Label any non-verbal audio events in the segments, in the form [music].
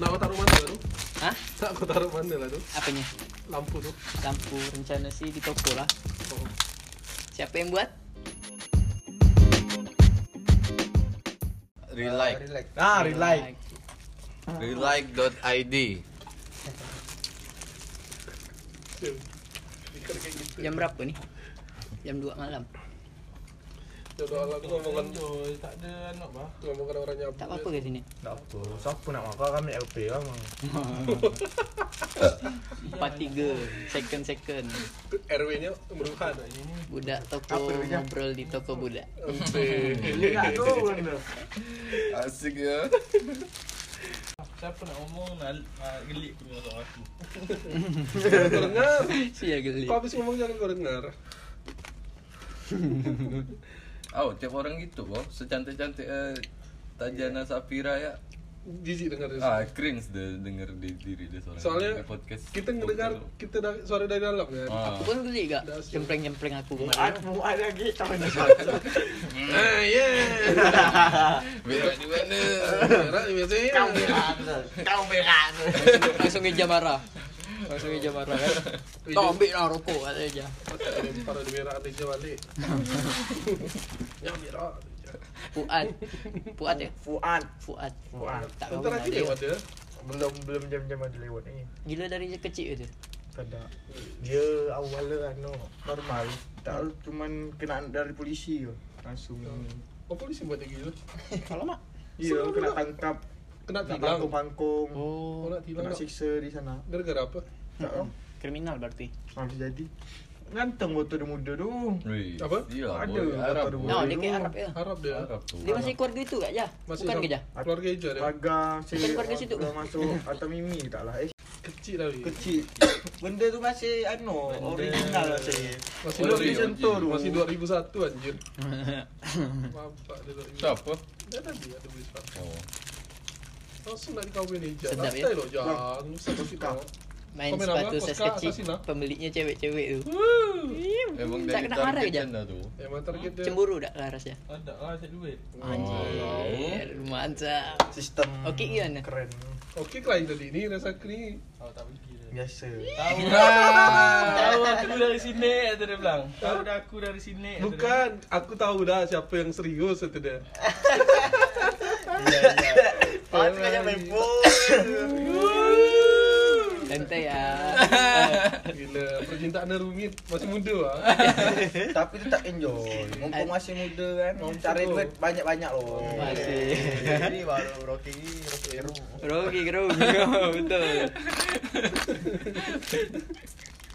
Nak kau taruh mana tu? [laughs] Hah? Nak kau taruh mana lah tu? Apanya? Lampu tu. Lampu rencana sih di toko lah. Oh. Siapa yang buat? Relike. Relax. Ah, relike. Relike.id. Pikir kayak gitu. Jam berapa nih? Jam 2 malam. Jodoh Allah tu ngomongan tak ada anak bah. ngomongan orang nyabu. Tak apa-apa ke sini? Tak apa. Siapa nak makan kami LP kan. Bang. 43 second second. RW-nya Meruhan. Budak toko ngobrol di toko budak. Ente. Asik ya. Siapa nak ngomong nak uh, gelik pun masuk aku. [laughs] Jangan kau dengar. Sia geli. Kau habis ngomong jangan kau dengar. Oh, tiap orang gitu boh. Secantik-cantik eh, Tajana Safira ya. Jijik dengar dia. Ah, cringe deh denger di diri dia soalnya. Soalnya Di podcast. kita ngedengar kita da- suara dari dalam kan. Ah. Aku pun geli gak? Cempreng-cempreng aku kemarin. Muat lagi tahun ni. Eh, Ah, yeah. Berak di mana? Merah ni biasanya. Kau berat. Langsung ngeja marah. Langsung ngeja marah kan. Tak ambil lah rokok kata dia. Para di merah Adija balik. Yang merah. Fuad. Fuad ya? Fuad. Fuad. Fuad. Tak Itu tahu lagi dia. lewat dia. ya. Belum belum jam-jam ada lewat ni. Gila dari kecil tu. Tak ada. Dia awalnya anu normal. Tak cuman kena dari polisi je. Langsung. Oh polisi buat dia gila. Alamak. Iya, Semua lah. kena pula. tangkap. Kena Kena tilang. pangkung-pangkung. Oh Oh. nak tilang. Kena lah. tak? siksa di sana. Gara-gara apa? Hmm. Tak tahu. Kriminal berarti. Habis jadi. Ganteng motor dia muda tu. Wih, Apa? Gila, Ada boy. kata Arab. dia boy. No, dia kayak Arab ya. Harap dia. Oh, Arab tuh. Dia masih keluarga itu gak ya? Masih Bukan sama- ke ja? Keluarga hijau dia. Pagar Bukan keluarga situ. Dah masuk atau mimi tak lah. Eh, Kecil lah. weh. kecil. [coughs] Benda tu masih anu original lah saya. Masih Belum Ori, disentuh ori. tu. Oh, Masih 2001 anjir. Mampak dia 2001. Siapa? Dah tadi ada beli sepatu. Oh. Langsung nak dikawin hijau. Sedap, ya? Santai loh, jangan. Usah kau kita. Main Komen sepatu apa? saiz Oscar, kecil, Asasina? pemiliknya cewek-cewek tu. Emang Hmm, Tak dari kena marah ke target ja? Anda tuh. Emang Eh, target dia. Cemburu tak larasnya? Ada lah cek duit. Oh. Anjir, mantap. Sistem Okey ke mana? keren. Okey kelain lah tadi ni rasa aku ni. Tahu Oh, tak pergi dia. Biasa. Ah, ya, Tahu Oh. [laughs] Tahu aku dari sini kata dia bilang. Tahu dah aku dari sini. kata dia. Bukan, aku tahu dah siapa yang serius itu dia. Oh, tu kan main [laughs] phone. Santai ya. [laughs] Gila, percintaan dia rumit, masih muda [laughs] lah. Eh, Tapi tu tak enjoy. Mumpung masih Oh, muda kan. Cari duit banyak-banyak loh. Masih. [laughs] Jadi baru Rocky Rocky Eru. Grogi, [laughs] grogi. Betul.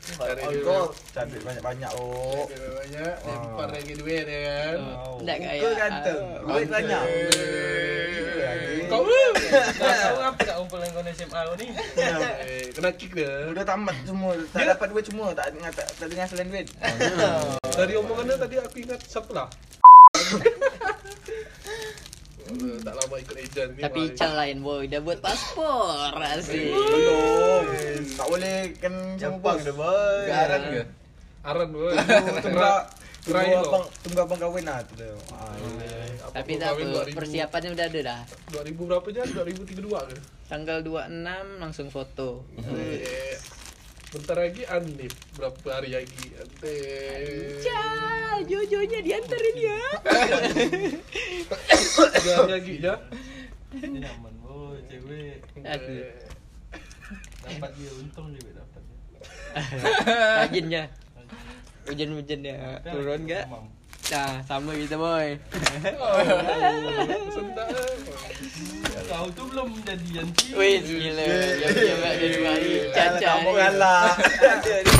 Cari On duit. goal. Cari duit banyak-banyak loh. Banyak, lempar lagi duit dia kan. Wow. Tak kaya. Muka ganteng. Ah. Duit banyak. Kau Kau tahu apa nak kumpul dengan kawan SMA kau ni? Eh, kena kick dia. Udah tamat semua, tak dapat duit semua, tak dengar tak, tak dengar selain duit. Dari omongan dia tadi aku ingat siapa lah. Eh, [laughs] tak lama ikut Edan ni. Tapi mari. Ical lain boy, dah buat paspor. Asik. Belum. Tak boleh kan sama bos. Garan ke? Aran [laughs] pun. Tunggu tunggu lah. Try tunggu lo. abang tunggu abang kahwin lah tu dia. Ah, Eh, Tapi tak apa, persiapannya udah ada dah. 2000 berapa je? 2032 ke? Tanggal 26 langsung foto. Eh, Bentar lagi Anif berapa hari lagi? Anif. Ical, Jojonya diantarin ya. Tiga hari lagi ya? je. Dia nyaman boy, cewek. Aduh. Eh, Dapat dia untung dia baik dapat dia. Rajinnya. Hujan-hujan dia turun gak? Mam. Nah, sama kita Eh, boy. Oh, [laughs] sentak. Kau tu belum jadi nanti. Wis gila. Ya ya ya dua hari. Alah, lah. Caca. eh. kamu kalah. Dia- dia